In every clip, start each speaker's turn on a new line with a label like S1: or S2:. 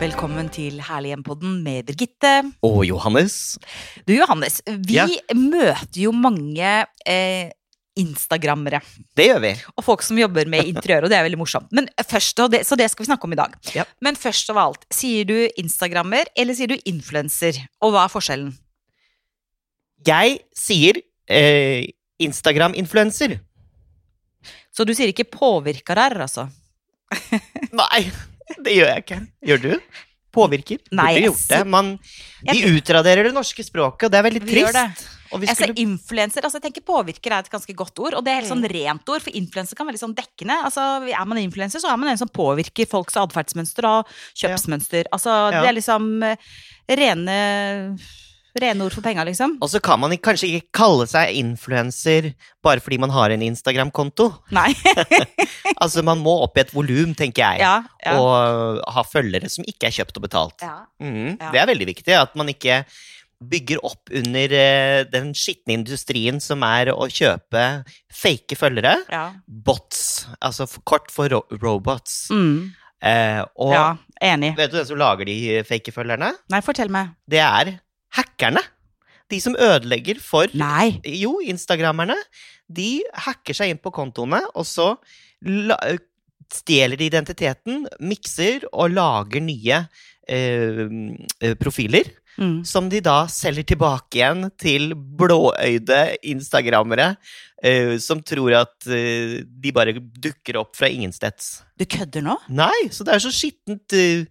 S1: Velkommen til Herlighjem-podden med Birgitte.
S2: Og Johannes.
S1: Du Johannes, vi
S2: Ja.
S1: møter jo mange eh, instagrammere
S2: Det gjør vi.
S1: og folk som jobber med interiør, og det er veldig morsomt. Men først, og det, så det skal vi snakke om i dag.
S2: Ja.
S1: Men først av alt, sier du instagrammer eller sier du influenser? Og hva er forskjellen?
S2: Jeg sier eh, Instagram-influenser.
S1: Så du sier ikke påvirkarar, altså?
S2: Nei, det gjør jeg ikke. Gjør du? Påvirker.
S1: Nei,
S2: Burde
S1: jeg
S2: gjort det. Man, de utraderer det norske språket, og det er veldig
S1: Vi gjør
S2: trist.
S1: det.
S2: Og vi
S1: Jeg ser
S2: skulle, Mm.
S1: influenser, altså jeg tenker påvirker er et ganske godt ord, og det er helt sånn rent ord, for influenser kan være litt sånn dekkende. Altså, er man influenser, så er man en som påvirker folks atferdsmønster og kjøpsmønster. Altså,
S2: Ja.
S1: det er liksom eh, rene, rene ord for penga, liksom.
S2: og så kan man ikke- kanskje ikke kalle seg influenser bare fordi man har en Instagram-konto.
S1: Nei.
S2: Altså, man må opp i et volum, tenker jeg.
S1: ja, ja.
S2: Og ha følgere som ikke er kjøpt og betalt.
S1: ja.
S2: Mhm,
S1: Ja.
S2: Det er veldig viktig at man ikke bygger opp under eh, den skitne industrien som er å kjøpe fake følgere.
S1: ja.
S2: Bots, altså f- kort for ro robots.
S1: Mm,
S2: Eh, og
S1: ja. Enig.
S2: vet du hvem som lager de fake følgerne?
S1: Nei, fortell meg.
S2: Det er hackerne. De som ødelegger for
S1: Nei.
S2: Jo, instagrammerne. De hacker seg inn på kontoene, og så la, stjeler de identiteten, mikser og lager nye eh, eh, profiler
S1: Mm.
S2: som de da selger tilbake igjen til blåøyde instagrammere eh, som tror at eh, de bare dukker opp fra ingensteds.
S1: Du kødder nå?
S2: Nei, så det er så skittent eh,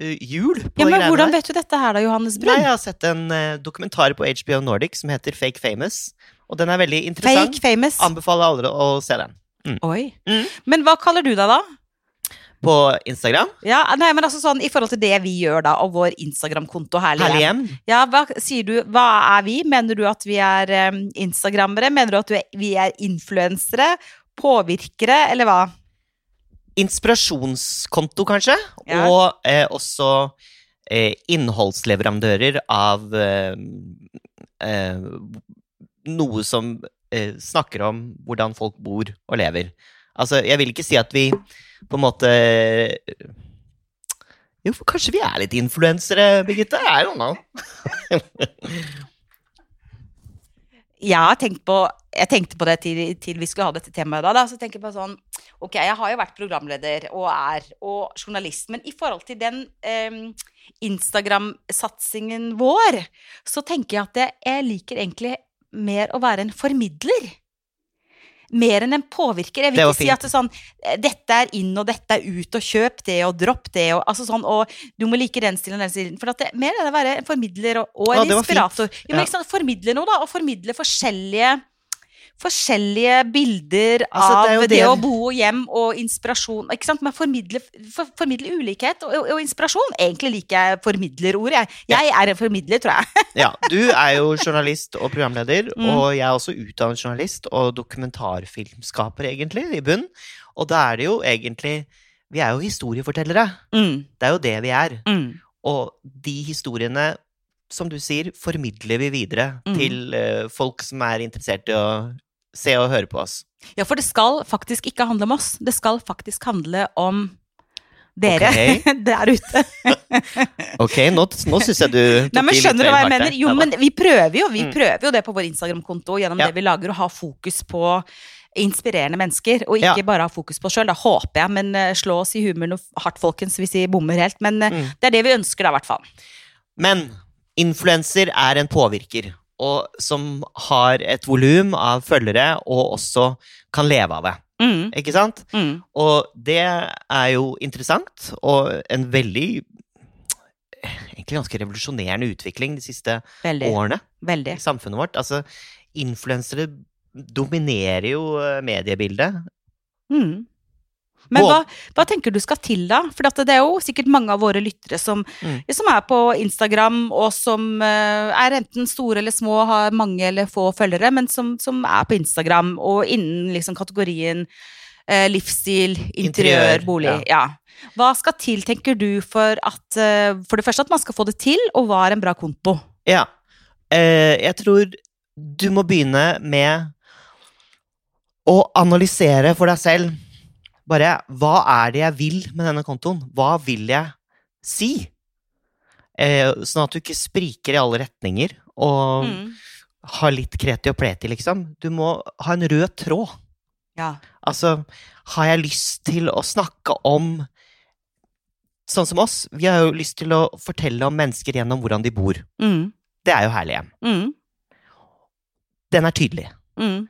S2: eh, hjul på
S1: Ja,
S2: de
S1: men
S2: greiene
S1: Hvordan
S2: der.
S1: vet du dette her da, Johannes
S2: Nei,
S1: Brun?
S2: jeg har sett en eh, dokumentar på HBO Nordic som heter Fake Famous, og den er veldig interessant.
S1: Fake famous.
S2: Anbefaler alle å se den.
S1: Oi.
S2: Mm.
S1: Men hva kaller du deg da?
S2: På Instagram.
S1: Ja, nei, men altså sånn, I forhold til det vi gjør da, og vår Instagram-konto herlig.
S2: Herlig hjem.
S1: Ja, hva sier du? Hva er vi? Mener du at vi er um, instagrammere? Mener du at du er, vi er influensere? Påvirkere, eller hva?
S2: Inspirasjonskonto, kanskje.
S1: Ja.
S2: Og eh, også eh, innholdsleverandører av eh, eh, noe som eh, snakker om hvordan folk bor og lever. Altså, jeg vil ikke si at vi på en måte eh, Jo, for kanskje vi er litt influensere, Birgitte? I don't know.
S1: Jeg har tenkt på, jeg tenkte på det til, til vi skulle ha dette temaet da, da. Så tenker jeg på sånn Ok, jeg har jo vært programleder og er og journalist, men i forhold til den em, Instagram-satsingen vår, så tenker jeg at jeg, jeg liker egentlig mer å være en formidler. Mer enn en påvirker. Jeg vil
S2: Det var
S1: ikke si
S2: fint.
S1: at det er sånn eh, Dette er inn, og dette er ut, og kjøp det, og dropp det, og altså sånn, og du må like den stilen og den stilen. For at det, mer er det å være en formidler og, og
S2: Ja,
S1: en
S2: det var fint.
S1: inspirator. Jo, men
S2: Ja.
S1: ikke sant, formidle noe, da, og formidle forskjellige forskjellige bilder
S2: Altså, det er
S1: av
S2: jo
S1: det,
S2: det-
S1: å bo og hjem og inspirasjon. Ikke sant? Men formidle, for, formidle ulikhet og, og, og inspirasjon. Egentlig liker jeg formidlerordet. Jeg. jeg er en formidler, tror jeg.
S2: Ja, du er jo journalist og programleder,
S1: Mm.
S2: og jeg er også utdannet journalist og dokumentarfilmskaper, egentlig, i bunn. Og da er det jo egentlig Vi er jo historiefortellere. Det er jo det vi er. Og de historiene, som du sier, formidler vi videre
S1: Mm.
S2: til eh, folk som er interessert i å se og høre på oss.
S1: Ja, for det skal faktisk ikke handle om oss. Det skal faktisk handle om dere der ute.
S2: Ok, nå, nå syns jeg du tok
S1: Nei, men
S2: i litt
S1: Skjønner du
S2: vel
S1: hva jeg
S2: hardt der.
S1: mener? Jo,
S2: Neida.
S1: men vi prøver jo, vi
S2: Mm.
S1: prøver jo det på vår Instagram-konto gjennom
S2: Ja.
S1: det vi lager, å ha fokus på inspirerende mennesker, og ikke
S2: Ja.
S1: bare ha fokus på oss sjøl. Da håper jeg, men eh, slå oss i huet noe hardt, folkens, hvis vi bommer helt. Men eh,
S2: Mm.
S1: det er det vi ønsker, da, i hvert fall.
S2: Men influenser er en påvirker, og som har et volum av følgere, og også kan leve av det.
S1: Mm,
S2: Ikke sant?
S1: mm,
S2: Og det er jo interessant, og en veldig Egentlig ganske revolusjonerende utvikling de siste
S1: veldig.
S2: årene i
S1: Veldig.
S2: samfunnet vårt. Altså, influensere dominerer jo eh, mediebildet.
S1: Mm. Men hva,
S2: Både-
S1: hva tenker du skal til, da? For at det er jo sikkert mange av våre lyttere som,
S2: Mm.
S1: som er på Instagram, og som eh, er enten store eller små, har mange eller få følgere, men som, som er på Instagram og innen liksom, kategorien eh, livsstil, interiør,
S2: Interiør,
S1: bolig. Ja. Hva skal til, tenker du, for at eh, For det første at man skal få det til, og hva er en bra konto?
S2: Ja. Eh, jeg tror du må begynne med å analysere for deg selv. Bare hva er det jeg vil med denne kontoen? Hva vil jeg si. Eh, sånn at du ikke spriker i alle retninger og
S1: Mm.
S2: har litt kreti og pleti, liksom. Du må ha en rød tråd.
S1: Ja.
S2: Altså, har jeg lyst til å snakke om Sånn som oss, vi har jo lyst til å fortelle om mennesker gjennom hvordan de bor.
S1: Mm.
S2: Det er jo herlig hjem.
S1: Mm.
S2: Den er tydelig,
S1: Mm.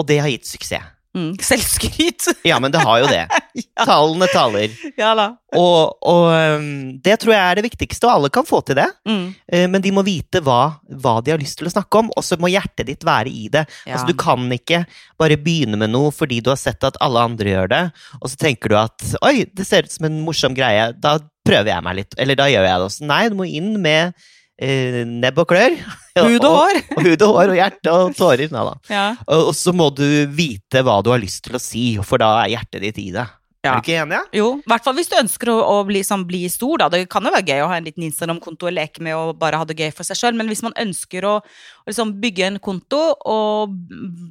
S2: og det har gitt suksess.
S1: Mm. Selvskryt.
S2: Ja, men det har jo det.
S1: ja.
S2: Tallene taler.
S1: ja da.
S2: Og, og øhm, det tror jeg er det viktigste, og alle kan få til det.
S1: Mm.
S2: Eh, Men de må vite hva, hva de har lyst til å snakke om, og så må hjertet ditt være i det.
S1: Ja.
S2: Altså, du kan ikke bare begynne med noe fordi du har sett at alle andre gjør det, og så tenker du at oi, det ser ut som en morsom greie, da prøver jeg meg litt, eller da gjør jeg det også. Nei, du må inn med eh, nebb og klør.
S1: Hud og hår.
S2: Og, hud og hår og hjerte og tårer. Nei da.
S1: Ja.
S2: Og, og så må du vite hva du har lyst til å si, for da er hjertet ditt i det.
S1: Ja.
S2: Er du ikke enig? ja?
S1: Jo, i hvert fall hvis du ønsker å, å bli, sånn, bli stor, da. Det kan jo være gøy å ha en liten Instagram-konto og leke med og bare ha det gøy for seg sjøl, men hvis man ønsker å, å liksom bygge en konto og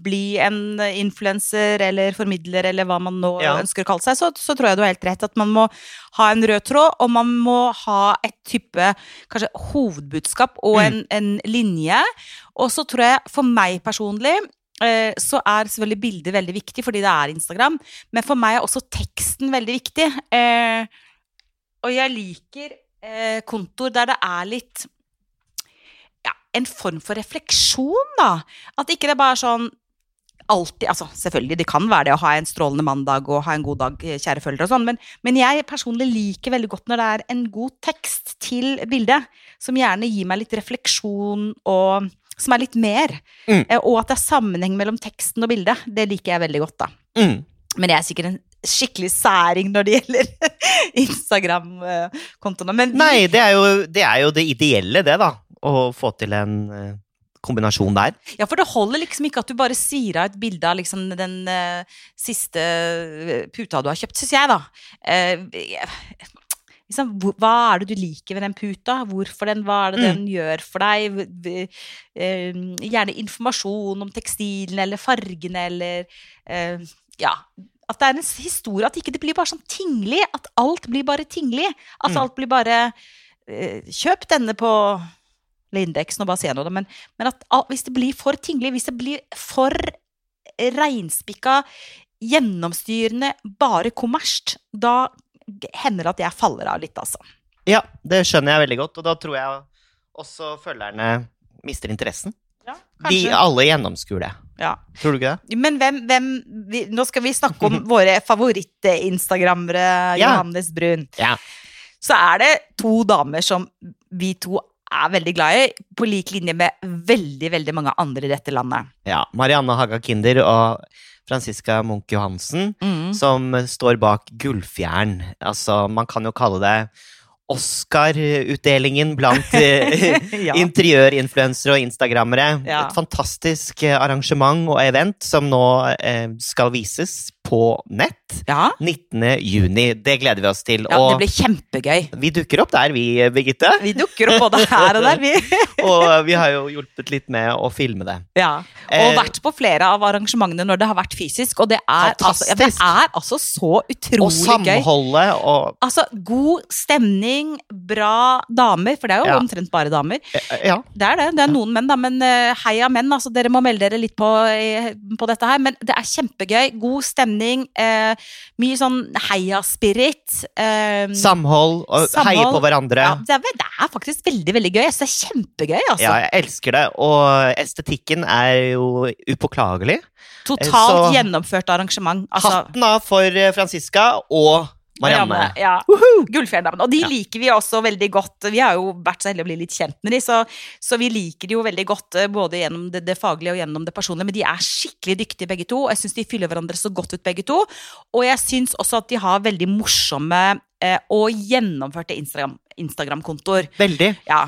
S1: bli en influenser eller formidler eller hva man nå
S2: Ja.
S1: ønsker å kalle seg, så, så tror jeg du har helt rett at man må ha en rød tråd, og man må ha et type kanskje hovedbudskap og en, en linje. Og så tror jeg, for meg personlig, eh, så er selvfølgelig bildet veldig viktig, fordi det er Instagram. Men for meg er også teksten veldig viktig. Eh, Og jeg liker eh, kontoer der det er litt ja, en form for refleksjon, da. At ikke det bare er sånn alltid Altså, selvfølgelig, det kan være det å ha en strålende mandag og ha en god dag, eh, kjære følgere og sånn, men, men jeg personlig liker veldig godt når det er en god tekst til bildet, som gjerne gir meg litt refleksjon og som er litt mer.
S2: Mm.
S1: Eh, Og at det er sammenheng mellom teksten og bildet. Det liker jeg veldig godt, da.
S2: Mm.
S1: Men jeg er sikkert en skikkelig særing når det gjelder Instagram-kontoene. Men vi-
S2: Nei, det er, jo, det er jo det ideelle, det, da. Å få til en eh, kombinasjon der.
S1: Ja, for det holder liksom ikke at du bare sier av et bilde av liksom den eh, siste eh, puta du har kjøpt, syns jeg, da. Eh, jeg- liksom, hvor- hva er det du liker ved den puta? Hvorfor den? Hva er det den gjør for deg? V- v- eh, Gjerne informasjon om tekstilen eller fargene eller eh, Ja. At det er en s- historie, at ikke det blir bare sånn tinglig. At alt blir bare tinglig. At
S2: Mm.
S1: alt blir bare eh, Kjøp denne på Lindex, nå bare sier jeg noe, da, men men at al- hvis det blir for tinglig, hvis det blir for reinspikka, gjennomstyrende, bare kommersielt, da hender det at jeg faller av litt, altså.
S2: Ja, det skjønner jeg veldig godt, og da tror jeg også følgerne mister interessen.
S1: Ja,
S2: De alle gjennomskuer det.
S1: Ja.
S2: Tror du ikke det?
S1: Men hvem, hvem vi, Nå skal vi snakke om våre favoritt-instagrammere,
S2: Ja.
S1: Johannes Brun.
S2: Ja.
S1: Så er det to damer som vi to er veldig glad i, på lik linje med veldig, veldig mange andre i dette landet.
S2: Ja. Marianne Haga Kinder og Franziska Munch Johansen, som står bak Gullfjern. Altså, man kan jo kalle det Oscar-utdelingen blant eh,
S1: ja.
S2: Interiørinfluensere og instagrammere.
S1: Ja.
S2: Et fantastisk eh, arrangement og event som nå eh, skal vises på nett
S1: ja.
S2: 19. juni. Det gleder vi oss til.
S1: ja, det
S2: og
S1: blir kjempegøy.
S2: vi dukker opp der, vi, eh, Birgitte.
S1: Vi dukker opp både her og der, vi.
S2: Og vi har jo hjulpet litt med å filme det.
S1: Ja. Og
S2: Eh,
S1: vært på flere av arrangementene når det har vært fysisk, og det er, altså, ja, det
S2: Fantastisk.
S1: er altså så
S2: Og
S1: utrolig gøy.
S2: samholdet og
S1: Altså, god stemning, bra damer, for det er jo
S2: Ja.
S1: omtrent bare damer.
S2: eh, Ja.
S1: Det er det, det er noen menn, da, men eh, heia menn, altså, dere må melde dere litt på, eh, på dette her. Men det er kjempegøy, god stemning, eh, mye sånn heia-spirit. Eh,
S2: Samhold og heie
S1: Samhold,
S2: på hverandre.
S1: ja, det, er, ve- det er faktisk veldig, veldig gøy. Jeg synes det er kjempegøy, altså.
S2: Ja, jeg elsker det. Og estetikken er jo upåklagelig.
S1: Totalt
S2: så-
S1: gjennomført arrangement. Altså,
S2: Hatten av for eh, Franziska og Marianne.
S1: Ja. Gullfjelldamen. Og de
S2: Ja.
S1: liker vi også veldig godt. Vi har jo vært så heldige å bli litt kjent med de, så, så vi liker de jo veldig godt eh, både gjennom det, det faglige og gjennom det personlige. Men de er skikkelig dyktige begge to, og jeg syns de fyller hverandre så godt ut begge to. Og jeg syns også at de har veldig morsomme eh, og gjennomførte Instagram- Instagram-kontoer.
S2: Veldig.
S1: ja.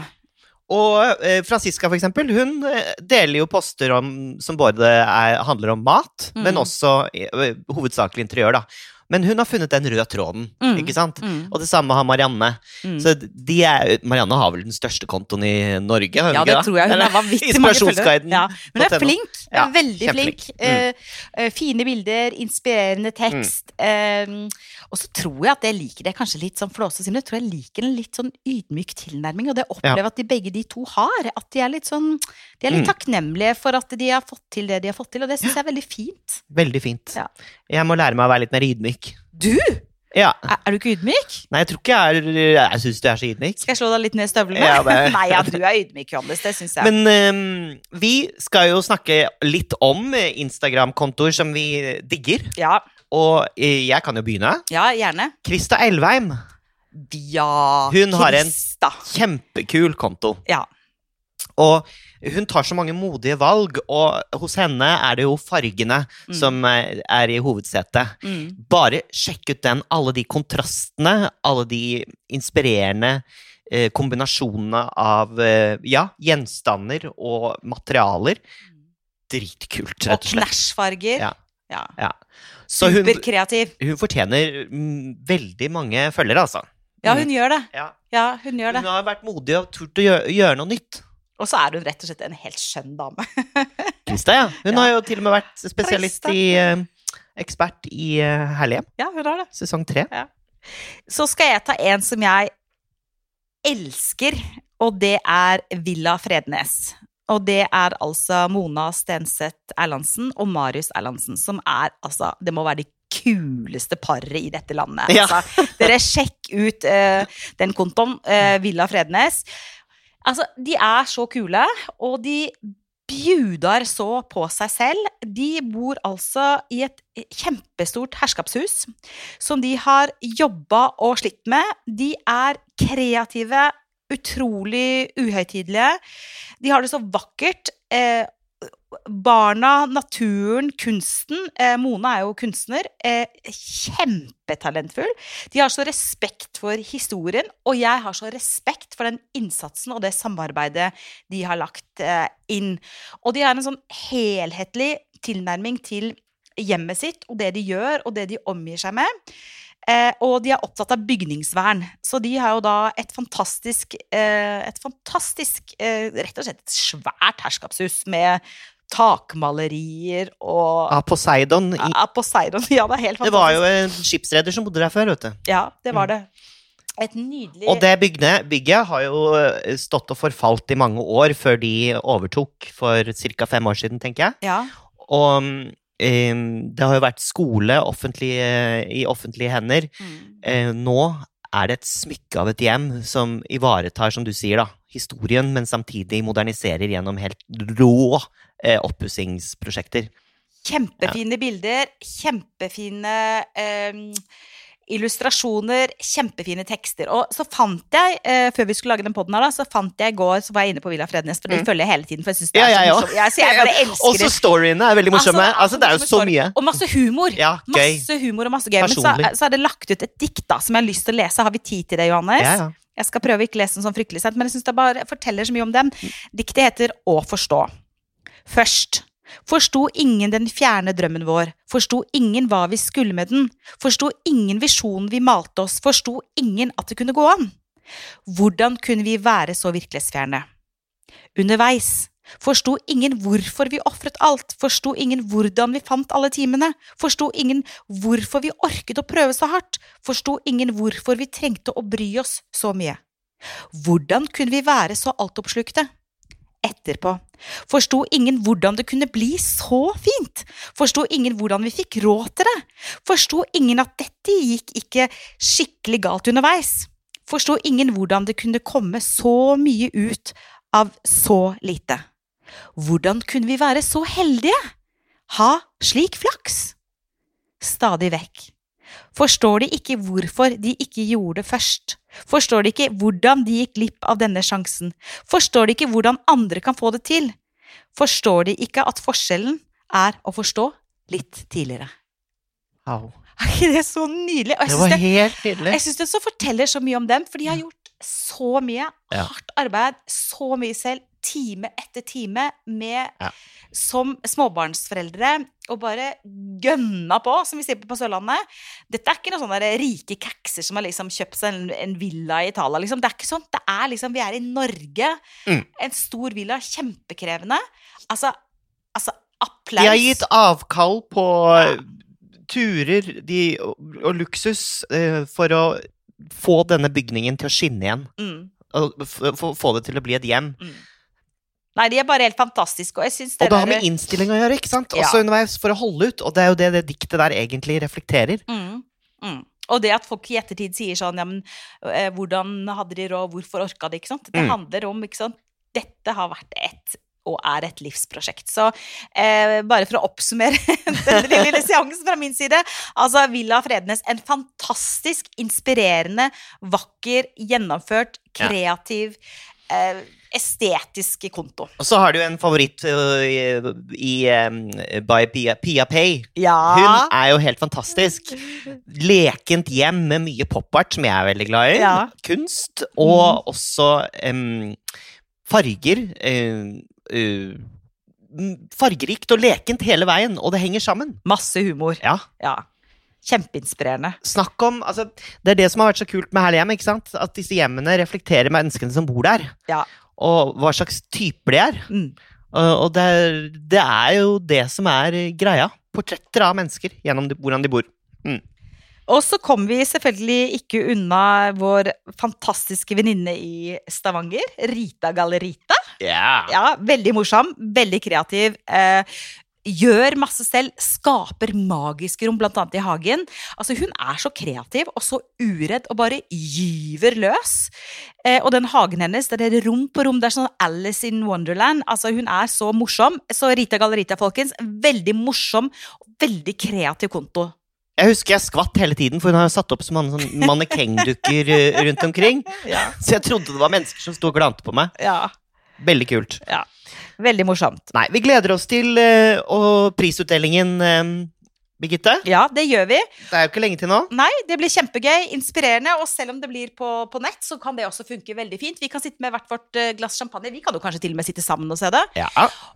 S2: Og eh, Franziska, for eksempel, hun eh, deler jo poster om, som både er, handler om mat,
S1: Mm.
S2: men også eh, hovedsakelig interiør, da. Men hun har funnet den røde tråden,
S1: Mm.
S2: ikke sant?
S1: Mm.
S2: Og det samme har Marianne.
S1: Mm.
S2: Så de er, Marianne har vel den største kontoen i Norge? har hun
S1: ja,
S2: ikke
S1: det tror jeg. Hun
S2: Eller?
S1: har vanvittig mange følgere.
S2: Inspirasjonsguiden.
S1: Ja. Men hun er
S2: .no.
S1: flink.
S2: Ja, Mm.
S3: Veldig
S2: kjempeflink.
S3: flink. Eh, eh, fine bilder, inspirerende tekst.
S2: Mm.
S3: eh,
S1: Og så tror jeg at jeg liker det kanskje litt sånn flåse, Simen. Jeg tror jeg liker en litt sånn ydmyk tilnærming, og det opplever jeg at de begge de to har. At de er litt sånn De er litt
S2: Mm.
S1: takknemlige for at de har fått til det de har fått til, og det syns jeg er veldig fint.
S2: Veldig fint.
S1: Ja.
S2: Jeg må lære meg å være litt mer ydmyk.
S1: Du!
S2: Ja.
S1: Er, er du ikke ydmyk?
S2: Nei, jeg tror ikke jeg er Jeg syns du er så ydmyk.
S1: Skal jeg slå deg litt ned i støvlene?
S2: Ja, det-
S1: Nei, ja, du er ydmyk, Johannes. Det syns jeg.
S2: Men ehm, vi skal jo snakke litt om eh, Instagram-kontoer som vi eh, digger.
S1: ja,
S2: Og eh, jeg kan jo begynne.
S1: ja, gjerne.
S2: Krista Elveim.
S1: Ja,
S2: Hun har en-
S1: Krista.
S2: Kjempekul konto.
S1: Ja.
S2: Og hun tar så mange modige valg, og hos henne er det jo fargene
S1: Mm.
S2: som eh, er i hovedsetet.
S1: Mm.
S2: Bare sjekk ut den. Alle de kontrastene, alle de inspirerende eh, kombinasjonene av eh, ja, gjenstander og materialer. Dritkult,
S1: Mm. Og
S2: rett og slett.
S1: knæsjfarger.
S2: Ja.
S1: Ja.
S2: Så hun,
S1: Superkreativ.
S2: hun fortjener mm, veldig mange følgere, altså.
S1: Ja, hun gjør det.
S2: Ja.
S1: Ja, hun gjør det.
S2: Hun har vært modig og turt å gjøre, gjøre noe nytt.
S1: Og så er hun rett og slett en helt skjønn dame.
S2: Krista, ja. Hun
S1: Ja.
S2: har jo til og med vært spesialist
S1: Krista.
S2: i eh, Ekspert i eh, Herlighjem,
S1: Ja, hun har det.
S2: sesong tre.
S1: Så skal jeg ta en som jeg elsker, og det er Villa Frednes. Og det er altså Mona Stenseth Erlandsen og Marius Erlandsen, som er altså Det må være de kuleste paret i dette landet.
S2: Ja.
S1: Altså, dere, sjekk ut eh, den kontoen. eh, Villa Frednes. Altså, de er så kule, og de bjudar så på seg selv. De bor altså i et kjempestort herskapshus som de har jobba og slitt med. De er kreative, utrolig uhøytidelige. De har det så vakkert. Eh, barna, naturen, kunsten. Eh, Mona er jo kunstner. Eh, kjempetalentfull. De har så respekt for historien, og jeg har så respekt for den innsatsen og det samarbeidet de har lagt eh, inn. Og de har en sånn helhetlig tilnærming til hjemmet sitt og det de gjør, og det de omgir seg med. Eh, og de er opptatt av bygningsvern, så de har jo da et fantastisk, eh, et fantastisk eh, Rett og slett et svært herskapshus med takmalerier og
S2: Av Poseidon. Altså, I,
S1: ja, Poseidon. Ja, det er helt fantastisk.
S2: det var jo en skipsreder som bodde der før, vet du.
S1: Ja, det var det. Et nydelig
S2: Mm. Og det bygget, bygget har jo eh, stått og forfalt i mange år før de overtok for ca. fem år siden, tenker jeg.
S1: Ja.
S2: Og mm, eh, det har jo vært skole offentlig, eh, i offentlige hender. Eh, Nå er det et smykke av et hjem som ivaretar, som du sier, da, historien, men samtidig moderniserer gjennom helt rå eh, oppussingsprosjekter.
S1: Kjempefine bilder, kjempefine em, illustrasjoner, kjempefine tekster. Og så fant jeg, eh, før vi skulle lage den podden her, da, så fant jeg i går, så var jeg inne på Villa Frednes, for det
S2: Mm.
S1: følger jeg hele tiden, for jeg syns det
S2: Ja,
S1: er
S2: jeg
S1: så
S2: også.
S1: morsomt. Ja, så jeg bare elsker
S2: Også
S1: det.
S2: storyene er veldig morsomme.
S1: Altså,
S2: Altså, det er jo
S1: morsomme
S2: så
S1: story.
S2: mye.
S1: Og masse humor.
S2: Ja, gøy.
S1: Masse humor og masse gøy. Men så,
S2: Personlig.
S1: så er det lagt ut et dikt da, som jeg har lyst til å lese. Har vi tid til det, Johannes?
S2: Ja, ja.
S1: Jeg skal prøve å ikke lese den sånn fryktelig sent, men jeg syns det bare forteller så mye om dem. Diktet heter Å forstå. Først. Forsto ingen den fjerne drømmen vår, forsto ingen hva vi skulle med den, forsto ingen visjonen vi malte oss, forsto ingen at det kunne gå an. Hvordan kunne vi være så virkelighetsfjerne? Underveis. Forsto ingen hvorfor vi ofret alt, forsto ingen hvordan vi fant alle timene, forsto ingen hvorfor vi orket å prøve så hardt, forsto ingen hvorfor vi trengte å bry oss så mye. Hvordan kunne vi være så altoppslukte? Etterpå. Forsto ingen hvordan det kunne bli så fint, forsto ingen hvordan vi fikk råd til det, forsto ingen at dette gikk ikke skikkelig galt underveis, forsto ingen hvordan det kunne komme så mye ut av så lite. Hvordan kunne vi være så heldige? Ha slik flaks? Stadig vekk. Forstår de ikke hvorfor de ikke gjorde det først? Forstår de ikke hvordan de gikk glipp av denne sjansen? Forstår de ikke hvordan andre kan få det til? Forstår de ikke at forskjellen er å forstå litt tidligere?
S2: Au.
S1: Er ikke det så nydelig? Og jeg
S2: Det
S1: synes
S2: var
S1: det
S2: helt nydelig.
S1: jeg syns det så forteller så mye om dem, for de har gjort så mye
S2: Ja.
S1: hardt arbeid, så mye selv, time etter time med
S2: Ja.
S1: som småbarnsforeldre og bare gønna på, som vi sier på, på Sørlandet. Dette er ikke noen sånne der rike kakser som har liksom kjøpt seg en, en villa i Italia. Liksom. Det er ikke sånt. Det er liksom, vi er i Norge.
S2: Mm.
S1: En stor villa, kjempekrevende. Altså, altså
S2: De
S1: applaus.
S2: har gitt avkall på eh, turer de, og, og luksus eh, for å få denne bygningen til å skinne igjen.
S1: mm.
S2: Og f f- få det til å bli et hjem.
S1: Mm. Nei, de er bare helt fantastiske. Og jeg synes
S2: Og
S1: det
S2: det har
S1: der-
S2: med innstilling å gjøre, ikke sant?
S1: Ja.
S2: Også underveis for å holde ut. Og det er jo det det diktet der egentlig reflekterer.
S1: Mm. Mm. Og det at folk i ettertid sier sånn ja, men, eh, Hvordan hadde de råd, hvorfor orka de? ikke sant? Det
S2: Mm.
S1: handler om ikke sant? Dette har vært et og er et livsprosjekt. Så eh, bare for å oppsummere denne lille, lille seansen fra min side Altså, Villa Frednes, en fantastisk inspirerende, vakker, gjennomført,
S2: Ja.
S1: kreativ, eh, estetisk konto.
S2: Og så har du en favoritt øh, i, i eh, by Pia, Pia Pay.
S1: Ja.
S2: Hun er jo helt fantastisk. Lekent hjem med mye pop-art, som jeg er veldig glad i.
S1: Ja. Mm.
S2: Kunst, og også em, farger. eh, eh, m, fargerikt og lekent hele veien, og det henger sammen.
S1: Masse humor.
S2: Ja.
S1: Ja. Kjempeinspirerende.
S2: Snakk om, altså, Det er det som har vært så kult med Herlig hjem, ikke sant? at disse hjemmene reflekterer menneskene som bor der,
S1: Ja.
S2: og hva slags typer de er.
S1: Mm.
S2: Og og det er, det er jo det som er greia. Portretter av mennesker gjennom de, hvordan de bor.
S1: Og så kom vi selvfølgelig ikke unna vår fantastiske venninne i Stavanger, Rita Gallerita. Ja, veldig morsom, veldig kreativ. Eh, gjør masse selv, skaper magiske rom, blant annet i hagen. Altså, hun er så kreativ og så uredd og bare gyver løs. Eh, og den hagen hennes, det er rom på rom, det er sånn Alice in Wonderland. Altså, hun er så morsom. Så Rita Gallerita, folkens, veldig morsom, veldig kreativ konto.
S2: Jeg husker jeg skvatt hele tiden, for hun har jo satt opp så mange sånn mannekengdukker eh, rundt omkring.
S1: Ja.
S2: Så jeg trodde det var mennesker som sto og glante på meg.
S1: Ja,
S2: Veldig kult.
S1: veldig morsomt.
S2: Nei, vi gleder oss til eh, å- prisutdelingen, eh, Birgitte.
S1: Ja, det gjør vi.
S2: Det er jo ikke lenge til nå.
S1: Nei, det blir kjempegøy, inspirerende, og selv om det blir på, på nett, så kan det også funke veldig fint. Vi kan sitte med hvert vårt eh, glass champagne. Vi kan jo kanskje til og med sitte sammen og se det.
S2: Ja,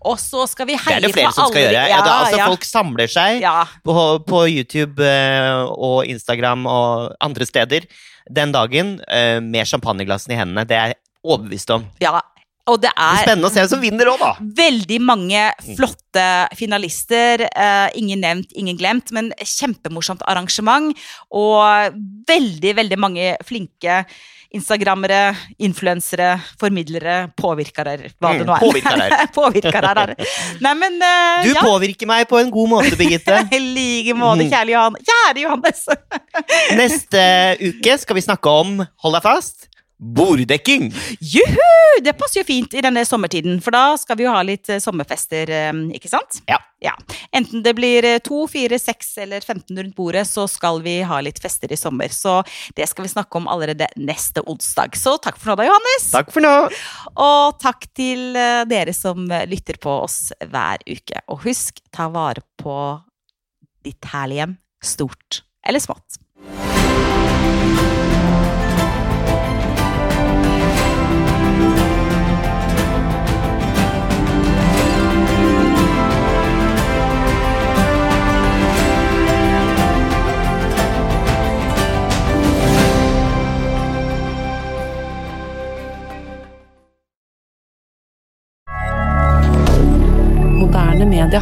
S1: Og så skal vi
S2: Det
S1: heie
S2: er det flere
S1: på
S2: som skal
S1: alle-
S2: gjøre. Ja, det, er altså,
S1: ja.
S2: Folk samler seg
S1: ja.
S2: på, på YouTube eh, og Instagram og andre steder den dagen eh, med champagneglassene i hendene. Det er jeg overbevist om. Det
S1: ja. Og det
S2: blir
S1: er
S2: spennende å se hvem som vinner òg, da.
S1: veldig mange
S2: Mm.
S1: flotte finalister. Eh, ingen nevnt, ingen glemt, men kjempemorsomt arrangement. Og veldig, veldig mange flinke instagrammere, influensere, formidlere, påvirkere, hva det
S2: Mm,
S1: nå er.
S2: påvirkere.
S1: påvirkere her. Nei, men eh,
S2: Du
S1: ja.
S2: påvirker meg på en god måte, Birgitte.
S1: I like måte,
S2: Mhm.
S1: kjære Johan. Kjære Johannes!
S2: Neste uke skal vi snakke om, hold deg fast, borddekking.
S1: Juhu! Det passer jo fint i denne sommertiden, for da skal vi jo ha litt eh, sommerfester, eh, ikke sant?
S2: Ja.
S1: Enten det blir eh, to, fire, seks eller 15 rundt bordet, så skal vi ha litt fester i sommer. Så det skal vi snakke om allerede neste onsdag. Så takk for nå da, Johannes.
S2: Takk for nå.
S1: Og takk til eh, dere som eh, lytter på oss hver uke. Og husk, ta vare på ditt herlige hjem, stort eller smått.
S4: Moderne media.